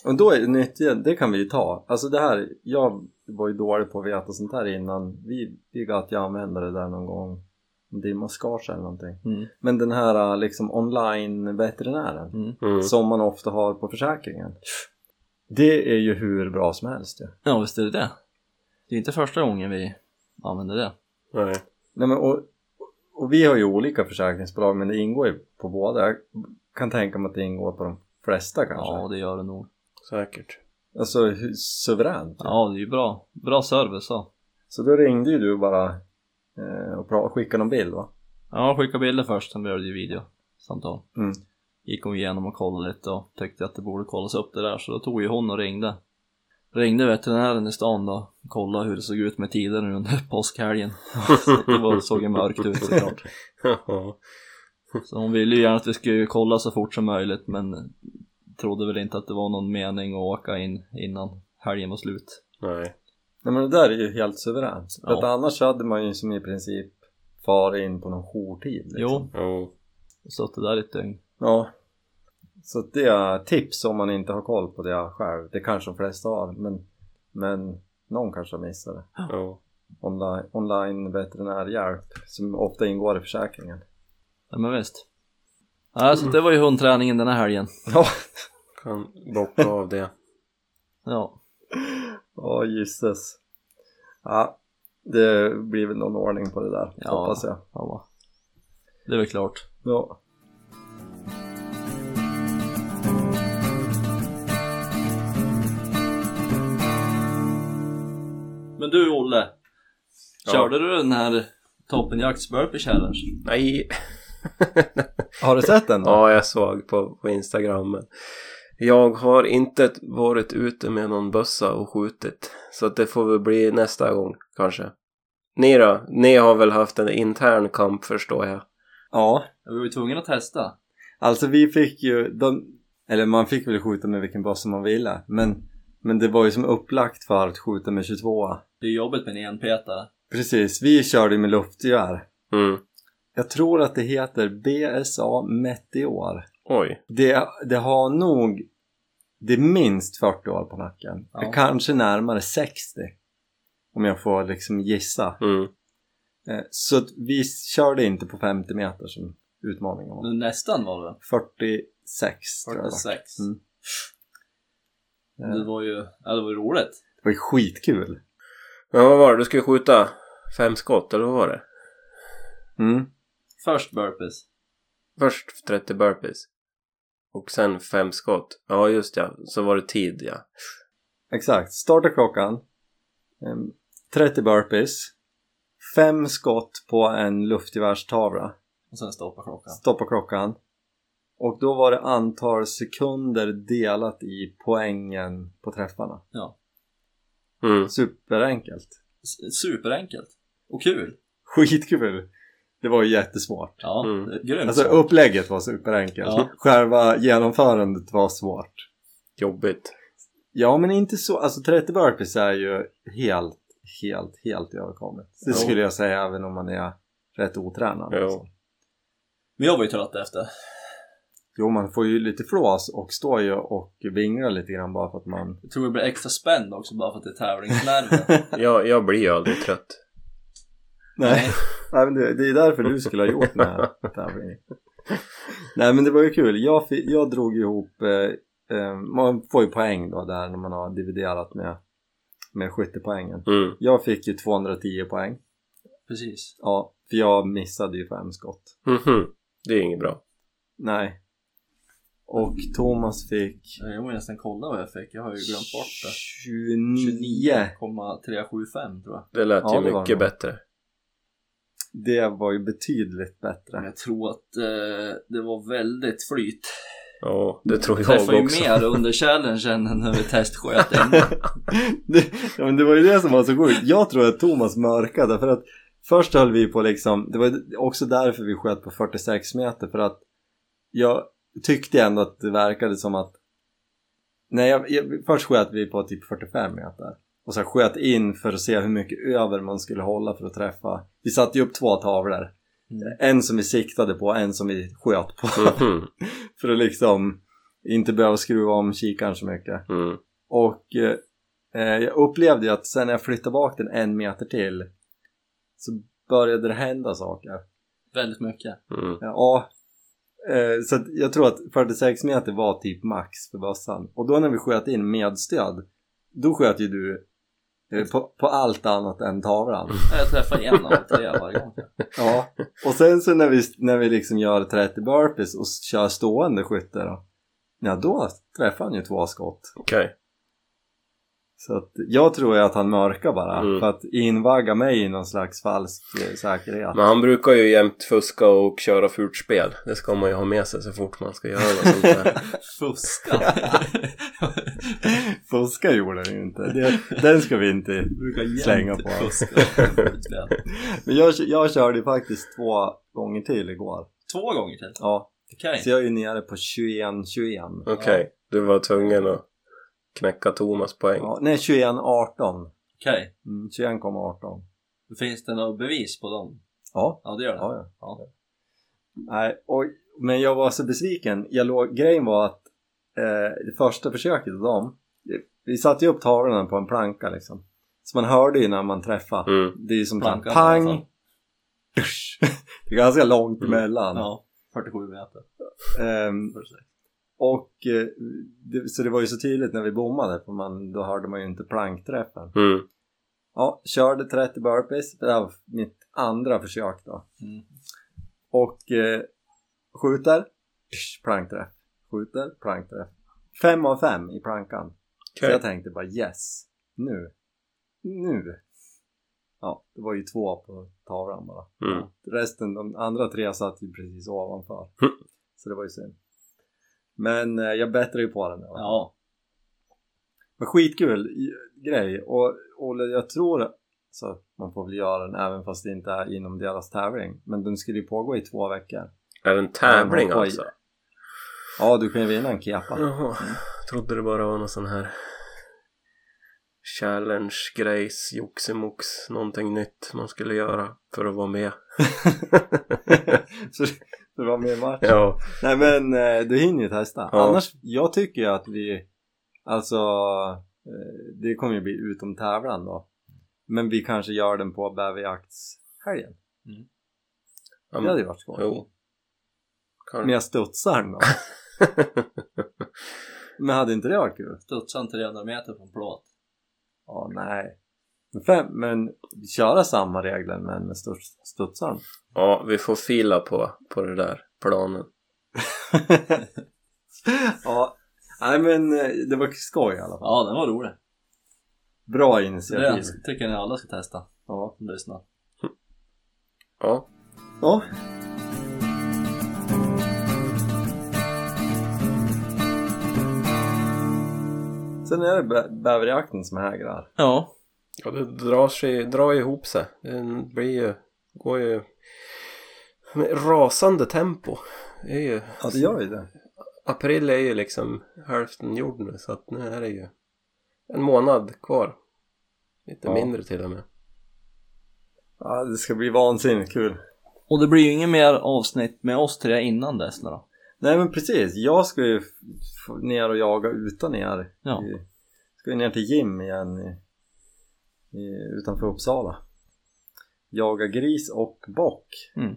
[SPEAKER 1] Och då är det nytt igen, det kan vi ju ta. Alltså det här, jag var ju dålig på att veta sånt här innan. Vi, vi att jag använde det där någon gång. Om Dimma skar sig eller någonting.
[SPEAKER 2] Mm.
[SPEAKER 1] Men den här liksom online-veterinären
[SPEAKER 2] Mm.
[SPEAKER 3] Mm.
[SPEAKER 1] som man ofta har på försäkringen. Det är ju hur bra som helst ju.
[SPEAKER 2] Ja, visst är det det. Det är inte första gången vi använder det.
[SPEAKER 3] Nej.
[SPEAKER 1] Nej, men och, och vi har ju olika försäkringsbolag men det ingår ju på båda. Jag kan tänka mig att det ingår på de flesta kanske.
[SPEAKER 2] Ja, det gör det nog.
[SPEAKER 3] Säkert.
[SPEAKER 1] Alltså hur, suveränt.
[SPEAKER 2] Ja, det är ju bra. Bra service så.
[SPEAKER 1] Så då ringde ju du bara eh, och pra- skickade någon bild va?
[SPEAKER 2] Ja, skicka bilder först, sen blev det ju videosamtal.
[SPEAKER 1] Mm.
[SPEAKER 2] Gick hon igenom och kollade lite och tyckte att det borde kollas upp det där, så då tog ju hon och ringde. Ringde veterinären i stan då, kollade hur det såg ut med tiden nu under påskhelgen. så att det var, såg ju mörkt ut såklart.
[SPEAKER 3] Ja.
[SPEAKER 2] Så hon ville ju gärna att vi skulle kolla så fort som möjligt, men trodde väl inte att det var någon mening att åka in innan helgen var slut.
[SPEAKER 3] Nej.
[SPEAKER 1] Nej men det där är ju helt suveränt. För
[SPEAKER 2] Ja.
[SPEAKER 1] att annars hade man ju som i princip far in på någon jourtid. Liksom.
[SPEAKER 2] Jo,
[SPEAKER 3] Jo.
[SPEAKER 2] så att det där är ett dygn.
[SPEAKER 1] Ja. Så det är tips om man inte har koll på det själv. Det kanske de flesta har men, men någon kanske har missat det.
[SPEAKER 3] Ja.
[SPEAKER 1] Online, online veterinärhjälp som ofta ingår i försäkringen.
[SPEAKER 2] Ja, men visst. Ja, så det var ju hundträningen den här helgen.
[SPEAKER 1] Ja,
[SPEAKER 3] Kan bocka av det.
[SPEAKER 2] Ja.
[SPEAKER 1] oh, gisses. Ja, det blir väl någon ordning på det där
[SPEAKER 2] Ja.
[SPEAKER 1] hoppas jag.
[SPEAKER 2] Ja, va. det är väl klart.
[SPEAKER 1] Ja.
[SPEAKER 2] Men du Olle,
[SPEAKER 3] Ja.
[SPEAKER 2] körde du den här toppenjakts burpee challenge?
[SPEAKER 3] Nej.
[SPEAKER 1] Har du sett den?
[SPEAKER 3] Ja, jag såg på, på Instagram. Men jag har inte varit ute med någon bössa och skjutit. Så att det får väl bli nästa gång kanske. Ni då? Ni har väl haft en intern kamp förstår jag.
[SPEAKER 1] ja.
[SPEAKER 2] Vi var ju tvungna att testa.
[SPEAKER 1] Alltså vi fick ju, de, eller man fick väl skjuta med vilken bössa man ville men, men det var ju som upplagt för att skjuta med 22
[SPEAKER 2] Det är jobbigt med en enpetare.
[SPEAKER 1] Precis, vi körde ju med luftgevär.
[SPEAKER 3] Mm.
[SPEAKER 1] Jag tror att det heter BSA Meteor.
[SPEAKER 3] Oj.
[SPEAKER 1] Det, det har nog det är minst 40 år på nacken.
[SPEAKER 2] Ja.
[SPEAKER 1] Kanske närmare 60. Om jag får liksom gissa.
[SPEAKER 3] Mm.
[SPEAKER 1] Eh, Så att vi körde inte på 50 meter som utmaningen var.
[SPEAKER 2] Nästan var det
[SPEAKER 1] 46 tror jag det
[SPEAKER 2] väl?
[SPEAKER 1] var.
[SPEAKER 2] 6.
[SPEAKER 1] Mm.
[SPEAKER 2] Det var ju, ja det var ju roligt.
[SPEAKER 1] Det var ju skitkul.
[SPEAKER 3] Men vad var det? Du skulle skjuta fem skott, eller vad var det?
[SPEAKER 1] Mm.
[SPEAKER 2] Först burpees.
[SPEAKER 3] Först 30 burpees. Och sen fem skott. Ja, just ja. Så var det tid, ja.
[SPEAKER 1] Exakt, starta klockan. Ehm, 30 burpees. Fem skott på en luftgevärstavra.
[SPEAKER 2] Och sen stoppa klockan.
[SPEAKER 1] Stoppa klockan. Och då var det antal sekunder delat i poängen på träffarna.
[SPEAKER 2] Ja.
[SPEAKER 3] Mm.
[SPEAKER 1] Superenkelt.
[SPEAKER 2] S- Superenkelt. Och kul.
[SPEAKER 1] Skitkul! Det var ju jättesvårt.
[SPEAKER 2] Ja,
[SPEAKER 3] Mm.
[SPEAKER 2] mm. grymt.
[SPEAKER 1] Alltså
[SPEAKER 2] så.
[SPEAKER 1] upplägget var superenkelt.
[SPEAKER 2] Ja.
[SPEAKER 1] Själva genomförandet var svårt.
[SPEAKER 3] Jobbigt.
[SPEAKER 1] Ja men inte så, alltså 30 burpees är ju helt, helt, helt överkomligt. Det
[SPEAKER 3] Jo.
[SPEAKER 1] skulle jag säga även om man är rätt otränad.
[SPEAKER 3] Jo.
[SPEAKER 1] Alltså.
[SPEAKER 2] Men jag var ju trött efter.
[SPEAKER 1] Jo man får ju lite flås och står ju och vinglar lite grann bara för att man...
[SPEAKER 2] Jag tror jag blev extra spänd också bara för att det är tävlingsnerver.
[SPEAKER 3] Jag, jag blir ju aldrig trött.
[SPEAKER 1] Nej, Nej men det, det är därför du skulle ha gjort den här tävlingen. Nej men det var ju kul, jag, fi- jag drog ihop, eh, eh, man får ju poäng då där när man har dividerat med, med skyttepoängen.
[SPEAKER 3] Mm.
[SPEAKER 1] Jag fick ju 210 poäng,
[SPEAKER 2] Precis.
[SPEAKER 1] ja, för jag missade ju fem skott.
[SPEAKER 3] Mhm. Det är inget bra.
[SPEAKER 1] Nej. Och Thomas fick
[SPEAKER 2] Jag vill nästan kolla vad jag fick. Jag har ju glömt bort det.
[SPEAKER 1] 29.
[SPEAKER 2] 29,375 tror jag.
[SPEAKER 3] Det lät
[SPEAKER 1] Ja,
[SPEAKER 3] ju
[SPEAKER 1] det var
[SPEAKER 3] mycket
[SPEAKER 1] bra.
[SPEAKER 3] bättre.
[SPEAKER 1] Det var ju betydligt
[SPEAKER 2] Men
[SPEAKER 1] bättre.
[SPEAKER 2] jag tror att eh, det var väldigt flyt.
[SPEAKER 3] Ja, det tror
[SPEAKER 2] Jag
[SPEAKER 3] jag också.
[SPEAKER 2] träffade ju mer under challengen än när vi testsköt den.
[SPEAKER 1] Det, ja, men det var ju det som var så sjukt. Jag tror att Thomas mörkade för att först höll vi på liksom, det var också därför vi sköt på 46 meter för att jag tyckte ändå att det verkade som att nej, jag, jag, först sköt vi på typ 45 meter och sen sköt in för att se hur mycket över man skulle hålla för att träffa. Vi satte ju upp två tavlor.
[SPEAKER 2] Mm.
[SPEAKER 1] En som vi siktade på, en som vi sköt på.
[SPEAKER 3] Mhm.
[SPEAKER 1] för att liksom inte behöva skruva om kikaren så mycket.
[SPEAKER 3] Mm.
[SPEAKER 1] Och eh, eh, jag upplevde ju att sen när jag flyttade bak den en meter till så började det hända saker.
[SPEAKER 2] väldigt mycket.
[SPEAKER 3] Mm.
[SPEAKER 1] Ja, eh, så att jag tror att 46 meter var typ max för bössan. Och då när vi sköt in medstöd, då sköt ju du eh, på, på allt annat än tavlan.
[SPEAKER 2] Jag träffade en av tre varje gång.
[SPEAKER 1] Ja, och sen så när vi, när vi liksom gör 30 burpees och kör stående skytte då, ja då träffar han ju två skott.
[SPEAKER 3] Okej.
[SPEAKER 1] Så att jag tror ju att han mörkar bara
[SPEAKER 3] Mm.
[SPEAKER 1] för att invagga mig i någon slags falsk eh, säkerhet.
[SPEAKER 3] Men han brukar ju jämt fuska och köra fult spel. Det ska man ju ha med sig så fort man ska göra något sånt där.
[SPEAKER 2] Fuska.
[SPEAKER 1] Fuska gjorde han ju inte. Det, den ska vi inte
[SPEAKER 2] Brukar jämt
[SPEAKER 1] slänga på.
[SPEAKER 2] fuska.
[SPEAKER 1] Men jag, jag körde ju faktiskt två gånger till igår.
[SPEAKER 2] Två gånger till.
[SPEAKER 1] Ja,
[SPEAKER 2] Det kan jag
[SPEAKER 1] så
[SPEAKER 2] inte.
[SPEAKER 1] jag är ju nere på 21-21.
[SPEAKER 3] Okej, du var tvungen att knäcka Thomas poäng.
[SPEAKER 1] Ja, nej, 21-18.
[SPEAKER 2] Okej.
[SPEAKER 1] Mm, 21,18.
[SPEAKER 2] Finns det något bevis på dem?
[SPEAKER 1] Ja.
[SPEAKER 2] Ja, det gör det.
[SPEAKER 1] Ja, ja. Nej, och, men jag var så besviken. Jag låg, grejen var att eh, det första försöket av dem, eh, vi satte ju upp tavlorna på en planka liksom. Så man hörde ju när man träffade.
[SPEAKER 3] Mm.
[SPEAKER 1] Det är ju som
[SPEAKER 2] Plankan, alltså.
[SPEAKER 1] Plankan,
[SPEAKER 2] i alla fall.
[SPEAKER 1] pang, dusch. Det är ganska långt
[SPEAKER 3] Mm.
[SPEAKER 1] emellan.
[SPEAKER 2] Ja, 47 meter.
[SPEAKER 1] Ehm, och eh, det, så det var ju så tydligt när vi bommade, för man, då hörde man ju inte plankträffen.
[SPEAKER 3] Mm.
[SPEAKER 1] Ja, körde 30 burpees. Det här var mitt andra försök då.
[SPEAKER 2] Mm.
[SPEAKER 1] Och eh, skjuter, psh, plankträff. Skjuter, plankträff. Fem av fem i plankan. Så
[SPEAKER 3] Okej.
[SPEAKER 1] jag tänkte bara yes, nu, nu. Ja, det var ju två på tavlan bara.
[SPEAKER 3] Mm.
[SPEAKER 1] Resten, de andra tre satt ju precis ovanför.
[SPEAKER 3] Mm.
[SPEAKER 1] Så det var ju synd. Men eh, jag bättrade ju på den. Där, va?
[SPEAKER 2] Ja,
[SPEAKER 1] Men skitkul i- grej och Olle jag tror så man får väl göra den även fast det inte är inom deras tävling. Men den skulle ju pågå i två veckor.
[SPEAKER 3] Är det en tävling
[SPEAKER 1] Ja, oj.
[SPEAKER 3] alltså?
[SPEAKER 1] Ja, du kan ju vinna en kepa.
[SPEAKER 3] Jaha, trodde det bara var någon sån här challenge grejs, joximox, någonting nytt man skulle göra för att vara med.
[SPEAKER 1] så du var med i matchen.
[SPEAKER 3] Ja,
[SPEAKER 1] Nej men eh, du hinner ju testa.
[SPEAKER 3] Ja.
[SPEAKER 1] Annars, jag tycker ju att vi, alltså eh, det kommer ju bli utom tävlan då. Men vi kanske gör den på bäverjaktshelgen helgen.
[SPEAKER 3] Ja,
[SPEAKER 1] Det hade
[SPEAKER 3] men,
[SPEAKER 1] ju varit skoj.
[SPEAKER 3] jo.
[SPEAKER 1] Men
[SPEAKER 3] Kanske.
[SPEAKER 1] jag studsar den då. Men hade inte det varit kul?
[SPEAKER 2] Studsa en 300 meter på en plåt.
[SPEAKER 1] Ja, nej. Men Fem, men köra samma regler men med studs, studsaren.
[SPEAKER 3] Ja, vi får fila på, på det där planen.
[SPEAKER 1] ja, nej men eh, det var skoj i alla fall.
[SPEAKER 2] Ja, den var rolig.
[SPEAKER 1] Bra
[SPEAKER 2] Så det
[SPEAKER 1] initiativ.
[SPEAKER 2] tycker jag ni alla ska testa.
[SPEAKER 1] Ja.
[SPEAKER 2] Lyssna.
[SPEAKER 3] Ja,
[SPEAKER 1] ja, sen är det bä- bäverjakten som hägrar.
[SPEAKER 2] Ja.
[SPEAKER 3] Ja, det drar, sig, drar ihop sig. Det blir ju, går ju med rasande tempo. Det är ju,
[SPEAKER 1] Ja, det gör ju det.
[SPEAKER 3] april är ju liksom hälften gjord nu så att nu är det ju en månad kvar. Lite
[SPEAKER 1] Ja.
[SPEAKER 3] mindre till och med.
[SPEAKER 1] Ja, det ska bli vansinnigt kul.
[SPEAKER 2] Och det blir ju inget mer avsnitt med oss tre innan dess nu då.
[SPEAKER 1] Nej men precis, jag ska ju f- f- ner och jaga utan er.
[SPEAKER 2] Ja.
[SPEAKER 1] I- Ska ju ner till Jim igen i, i, utanför Uppsala. Jaga gris och bock.
[SPEAKER 3] Mm.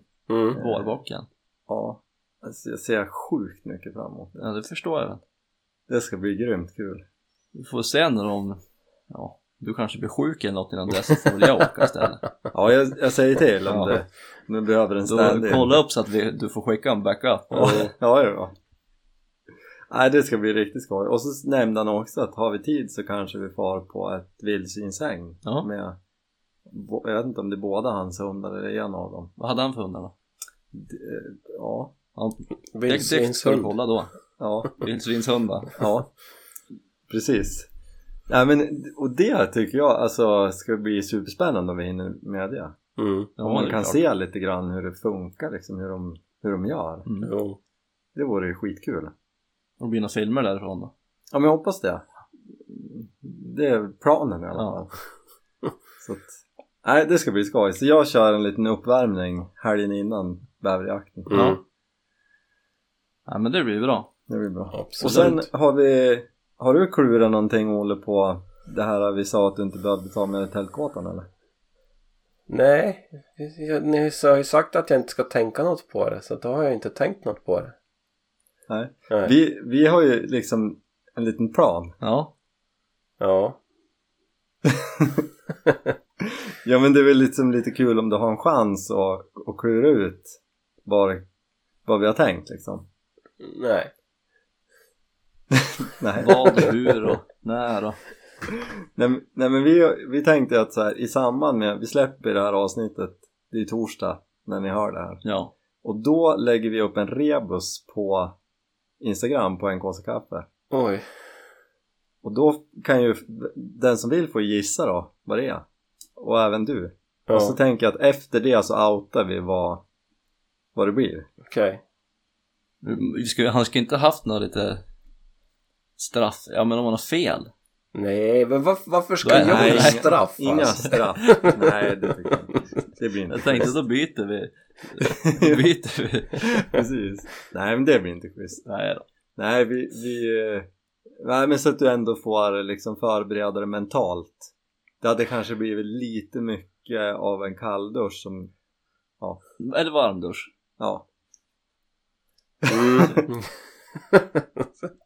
[SPEAKER 2] Vårbocken.
[SPEAKER 1] Ja, alltså jag ser sjukt mycket fram emot det.
[SPEAKER 2] Ja, det förstår jag väl.
[SPEAKER 1] Det ska bli grymt kul.
[SPEAKER 2] Vi får se när de... Ja, du kanske blir sjuk eller något innan dess så får väl jag åka istället.
[SPEAKER 1] Ja, jag, jag säger till om
[SPEAKER 2] Ja.
[SPEAKER 1] det. Nu behöver en
[SPEAKER 2] Då
[SPEAKER 1] stand-in.
[SPEAKER 2] kolla upp så att vi, du får skicka en backup.
[SPEAKER 1] Ja, ja, ja. Nej, det ska bli riktigt skoj. Och så nämnde han också att har vi tid så kanske vi far på ett vildsvinshäng
[SPEAKER 2] Ja.
[SPEAKER 1] med, bo- jag vet inte om det är båda hans hundar eller en av dem.
[SPEAKER 2] Vad hade han för hundar då?
[SPEAKER 1] D- eh, Ja,
[SPEAKER 2] Ja, det, det ska vi
[SPEAKER 3] Vildsvinshund.
[SPEAKER 2] kolla då.
[SPEAKER 1] ja,
[SPEAKER 2] Vildsvinshundar.
[SPEAKER 1] ja. Precis. Nej, men, och det tycker jag alltså ska bli superspännande om vi hinner med det.
[SPEAKER 3] Mm.
[SPEAKER 2] Ja,
[SPEAKER 1] om
[SPEAKER 2] det
[SPEAKER 1] man
[SPEAKER 2] är
[SPEAKER 1] kan
[SPEAKER 2] klart.
[SPEAKER 1] se lite grann hur det funkar, liksom, hur, de, hur de gör.
[SPEAKER 2] Mm.
[SPEAKER 3] Jo.
[SPEAKER 1] Det vore ju skitkul.
[SPEAKER 2] Och det blir några filmer därifrån då.
[SPEAKER 1] Ja men jag hoppas det. Det är planen i alla
[SPEAKER 2] Ja.
[SPEAKER 1] fall. Så att, nej det ska bli skoj. Så jag kör en liten uppvärmning helgen innan bäverjakten.
[SPEAKER 3] Mm.
[SPEAKER 2] Ja. Ja, men det blir bra.
[SPEAKER 1] Det blir bra.
[SPEAKER 3] Absolut.
[SPEAKER 1] Och sen har vi, har du klurat någonting Olle på det här vi sa att du inte behövde ta med tältkåtan eller?
[SPEAKER 3] Nej, jag, ni har ju sagt att jag inte ska tänka något på det så då har jag inte tänkt något på det.
[SPEAKER 1] Nej.
[SPEAKER 3] Nej.
[SPEAKER 1] Vi, vi har ju liksom en liten plan.
[SPEAKER 2] Ja.
[SPEAKER 3] Ja.
[SPEAKER 1] Ja men det är väl liksom lite kul om du har en chans att, att klura ut vad, vad vi har tänkt liksom.
[SPEAKER 3] Nej.
[SPEAKER 1] Nej.
[SPEAKER 2] Vad, hur och när och...
[SPEAKER 1] Nej, men- nej men vi, vi tänkte att så här, i samband med, vi släpper det här avsnittet, det är torsdag när ni hör det här.
[SPEAKER 2] Ja.
[SPEAKER 1] Och då lägger vi upp en rebus på Instagram på NKC Kaffe.
[SPEAKER 3] Oj.
[SPEAKER 1] Och då kan ju den som vill få gissa då vad det är. Och även du.
[SPEAKER 3] Ja.
[SPEAKER 1] Och så tänker jag att efter det så outar vi vad, vad det blir.
[SPEAKER 3] Okej.
[SPEAKER 2] Vi ska, han ska inte haft några lite straff, ja men om han har fel.
[SPEAKER 3] Nej, men var, varför ska
[SPEAKER 2] Nej,
[SPEAKER 3] jag
[SPEAKER 2] nej,
[SPEAKER 3] ha
[SPEAKER 2] inga-
[SPEAKER 3] straff
[SPEAKER 1] Inga
[SPEAKER 3] alltså?
[SPEAKER 1] straff. Nej, det tycker jag inte. Det blir inte
[SPEAKER 2] Jag tänkte
[SPEAKER 1] schysst.
[SPEAKER 2] då byter vi. Då byter vi.
[SPEAKER 1] Precis. Nej, men det blir inte schysst.
[SPEAKER 2] Nej då.
[SPEAKER 1] Nej, vi, vi... eh, Nej, men så att du ändå får liksom förbereda dig mentalt. Det hade kanske blivit lite mycket av en kalldusch som...
[SPEAKER 2] Eller varmdusch.
[SPEAKER 1] Ja.
[SPEAKER 3] Mm.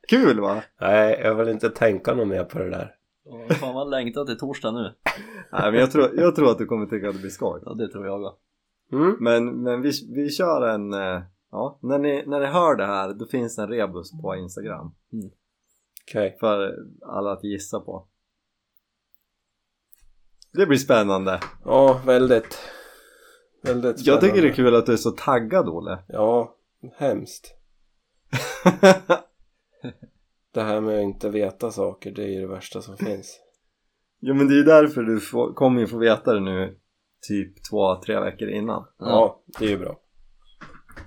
[SPEAKER 1] Kul va?
[SPEAKER 3] Nej, jag vill inte tänka något mer på det där.
[SPEAKER 2] Åh, Fan vad längtar till torsdag nu.
[SPEAKER 1] Nej, men jag tror, jag tror att du kommer tycka att det blir skoj.
[SPEAKER 2] Ja det tror jag också.
[SPEAKER 3] Mm.
[SPEAKER 1] Men, men vi, vi kör en... eh, Ja, när ni, när ni hör det här då finns det en rebus på Instagram
[SPEAKER 3] Okej.
[SPEAKER 1] för alla att gissa på. Det blir spännande.
[SPEAKER 3] Ja, väldigt. Väldigt
[SPEAKER 1] Jag tycker det är
[SPEAKER 3] spännande.
[SPEAKER 1] kul att du är så taggad Olle.
[SPEAKER 3] Ja, hemskt. Det här med att inte veta saker, det är ju det värsta som finns.
[SPEAKER 1] Jo men det är ju därför du får, kommer ju få veta det nu typ två, tre veckor innan.
[SPEAKER 3] Ja, det är ju bra.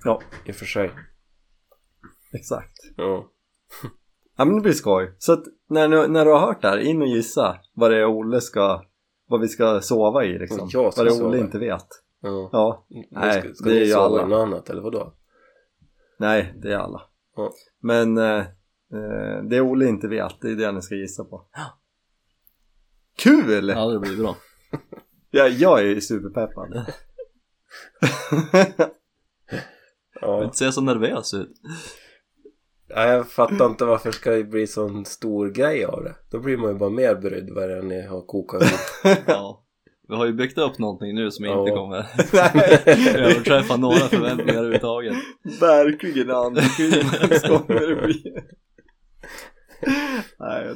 [SPEAKER 1] Ja,
[SPEAKER 3] I och för sig.
[SPEAKER 1] exakt.
[SPEAKER 3] Ja.
[SPEAKER 1] Ja men det blir skoj. Så att när, du- när du har hört det här, in och gissa vad det är Olle ska, vad vi ska sova i liksom.
[SPEAKER 3] Vad jag ska
[SPEAKER 1] vad det är
[SPEAKER 3] sova
[SPEAKER 1] Olle
[SPEAKER 3] i.
[SPEAKER 1] inte vet.
[SPEAKER 3] ja.
[SPEAKER 1] Ja, Nej,
[SPEAKER 3] ska, ska
[SPEAKER 1] det är
[SPEAKER 3] ni
[SPEAKER 1] ju
[SPEAKER 3] sova
[SPEAKER 1] alla.
[SPEAKER 3] i något annat eller vadå?
[SPEAKER 1] nej det är alla.
[SPEAKER 3] Ja.
[SPEAKER 1] Men eh, eh, det Olle inte vet, det är det ni ska gissa på. Kul!
[SPEAKER 2] Ja det blir bra.
[SPEAKER 1] Jag, jag är ju superpeppad.
[SPEAKER 3] Ja.
[SPEAKER 2] Du ser så nervös ut.
[SPEAKER 3] Nej, jag fattar inte varför ska det bli sån stor grej av det. Då blir man ju bara mer brydd vad det är ni har kokat ihop.
[SPEAKER 2] Ja. Vi har ju byggt upp någonting nu som inte
[SPEAKER 3] Ja.
[SPEAKER 2] kommer
[SPEAKER 1] Nej,
[SPEAKER 2] överträffa några förväntningar överhuvudtaget.
[SPEAKER 1] verkligen andningsskott när det blir. Nej,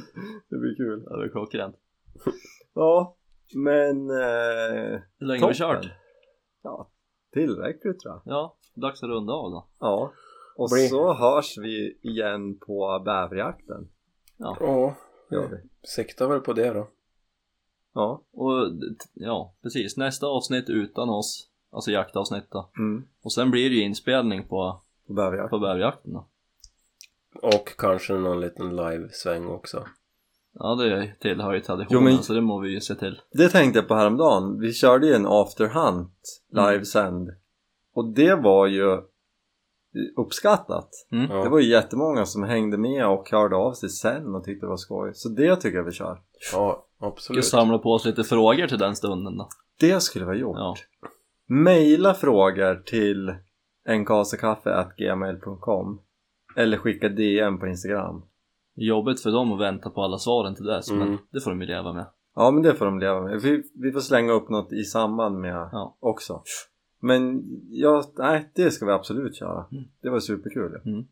[SPEAKER 1] det blir kul.
[SPEAKER 2] Det var klockrent.
[SPEAKER 1] Ja, men eh,
[SPEAKER 2] Hur länge har vi
[SPEAKER 1] Toppen.
[SPEAKER 2] kört?
[SPEAKER 1] tillräckligt tror jag.
[SPEAKER 2] Ja, dags att runda av då.
[SPEAKER 1] Ja. Och
[SPEAKER 3] Bli-
[SPEAKER 1] så hörs vi igen på bäverjakten.
[SPEAKER 3] Ja,
[SPEAKER 1] Gör vi.
[SPEAKER 3] sikta väl på det då.
[SPEAKER 1] Ja.
[SPEAKER 2] Och t- ja, precis. Nästa avsnitt utan oss. Alltså jaktavsnitt då.
[SPEAKER 1] Mm.
[SPEAKER 2] Och sen blir det ju inspelning på,
[SPEAKER 1] På bäverjakt.
[SPEAKER 2] på bäverjakten då.
[SPEAKER 3] Och kanske någon liten live-sväng också.
[SPEAKER 2] Ja, det tillhör ju
[SPEAKER 1] Jo,
[SPEAKER 2] traditionen
[SPEAKER 1] men-
[SPEAKER 2] så det må vi ju se till.
[SPEAKER 1] Det tänkte jag på häromdagen. Vi körde ju en afterhunt livesänd. Och det var ju uppskattat.
[SPEAKER 2] Mm.
[SPEAKER 3] Ja.
[SPEAKER 1] Det var ju jättemånga som hängde med och hörde av sig sen och tyckte det var skoj. Så det tycker jag vi kör.
[SPEAKER 3] Ja,
[SPEAKER 2] Ska
[SPEAKER 3] absolut.
[SPEAKER 2] samla på oss lite frågor till den stunden då.
[SPEAKER 1] Det skulle vi ha gjort.
[SPEAKER 2] Ja.
[SPEAKER 1] Maila frågor till nkasakaffe.gmail.com Eller skicka DM på Instagram.
[SPEAKER 2] Jobbigt för dem att vänta på alla svaren till dess, men
[SPEAKER 3] Mm.
[SPEAKER 2] det får de ju leva med.
[SPEAKER 1] Ja men det får de leva med. Vi, vi får slänga upp något i samband med
[SPEAKER 2] Ja.
[SPEAKER 1] också. Men ja, nej det ska vi absolut köra.
[SPEAKER 2] Mm.
[SPEAKER 1] Det var superkul. ja.
[SPEAKER 2] Mm.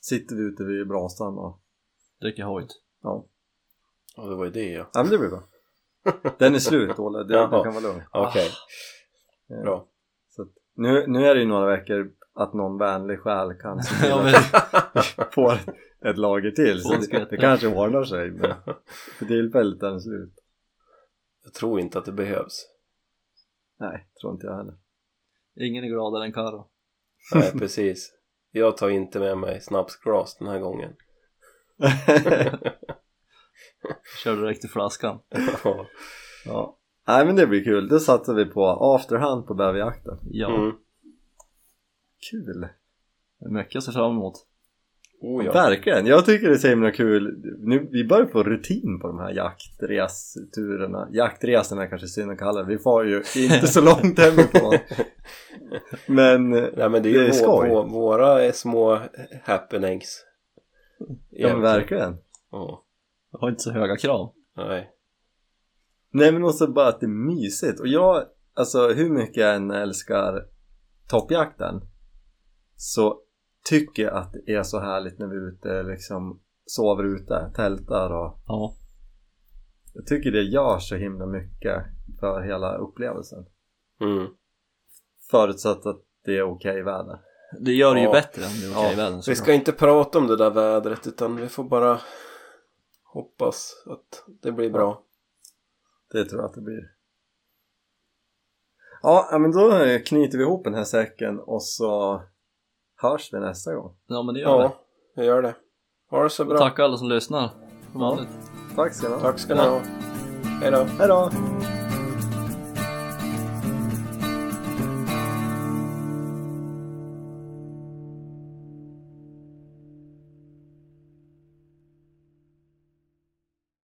[SPEAKER 1] Sitter vi ute vid brasan och
[SPEAKER 2] Dricker hojt.
[SPEAKER 1] ja.
[SPEAKER 3] Ja, det var ju det ja.
[SPEAKER 1] ja men det blir bra. Den är slut Olle, det
[SPEAKER 3] Jaha.
[SPEAKER 1] du kan vara lugn.
[SPEAKER 3] Okej,
[SPEAKER 1] Eh,
[SPEAKER 3] bra.
[SPEAKER 1] Så att, nu, nu är det ju några veckor att någon vänlig själ kan se till
[SPEAKER 2] Ja,
[SPEAKER 1] att
[SPEAKER 2] men,
[SPEAKER 1] få ett lager till. Så
[SPEAKER 2] Hon ska-
[SPEAKER 1] det, det kanske ordnar sig. Men för tillfället är den slut.
[SPEAKER 3] Jag tror inte att det behövs.
[SPEAKER 1] Nej, tror inte jag heller.
[SPEAKER 2] ingen är gladare än Karo.
[SPEAKER 3] Nej, precis. Jag tar inte med mig snapsglas den här gången.
[SPEAKER 2] Kör direkt i flaskan.
[SPEAKER 3] Ja.
[SPEAKER 1] Ja. Nej men det blir kul, då satsar vi på afterhand på bäverjakten.
[SPEAKER 2] Ja,
[SPEAKER 3] Mm.
[SPEAKER 1] Kul!
[SPEAKER 2] mycket att se fram emot.
[SPEAKER 3] Oh, ja.
[SPEAKER 1] Verkligen! Jag tycker det är så himla kul. Nu, vi börjar få rutin på de här jaktresturerna. Jaktresorna kanske är synd att kalla det. Vi får ju inte så långt hemifrån. Men eh,
[SPEAKER 3] Nej men det är ju
[SPEAKER 1] Det är
[SPEAKER 3] vå-
[SPEAKER 1] skoj.
[SPEAKER 3] vå- våra eh, små happenings.
[SPEAKER 1] ja, men verkligen.
[SPEAKER 3] Ja,
[SPEAKER 2] Jag har inte så höga krav.
[SPEAKER 3] nej.
[SPEAKER 1] Nej men också bara att det är mysigt. Och jag, alltså hur mycket jag än älskar toppjakten så tycker jag att det är så härligt när vi är ute liksom sover ute, tältar och
[SPEAKER 2] Ja,
[SPEAKER 1] Jag tycker det gör så himla mycket för hela upplevelsen.
[SPEAKER 3] Mm.
[SPEAKER 1] Förutsatt att det är okej väder.
[SPEAKER 2] det gör det ju
[SPEAKER 3] Ja.
[SPEAKER 2] bättre än det är okej
[SPEAKER 1] Ja,
[SPEAKER 2] i världen.
[SPEAKER 3] Vi ska inte prata om det där vädret utan vi får bara hoppas att det blir bra.
[SPEAKER 1] Det tror jag att det blir. Ja, ja, men då knyter vi ihop den här säcken och så hörs vi nästa gång.
[SPEAKER 2] Ja, men det gör
[SPEAKER 3] Ja, jag gör det. Ha det så
[SPEAKER 2] vi. Och
[SPEAKER 3] bra.
[SPEAKER 2] tack alla som lyssnar. Som vanligt.
[SPEAKER 1] Tack ska ni ha.
[SPEAKER 3] Tack ska ni ha. Hej då.
[SPEAKER 1] Hej då!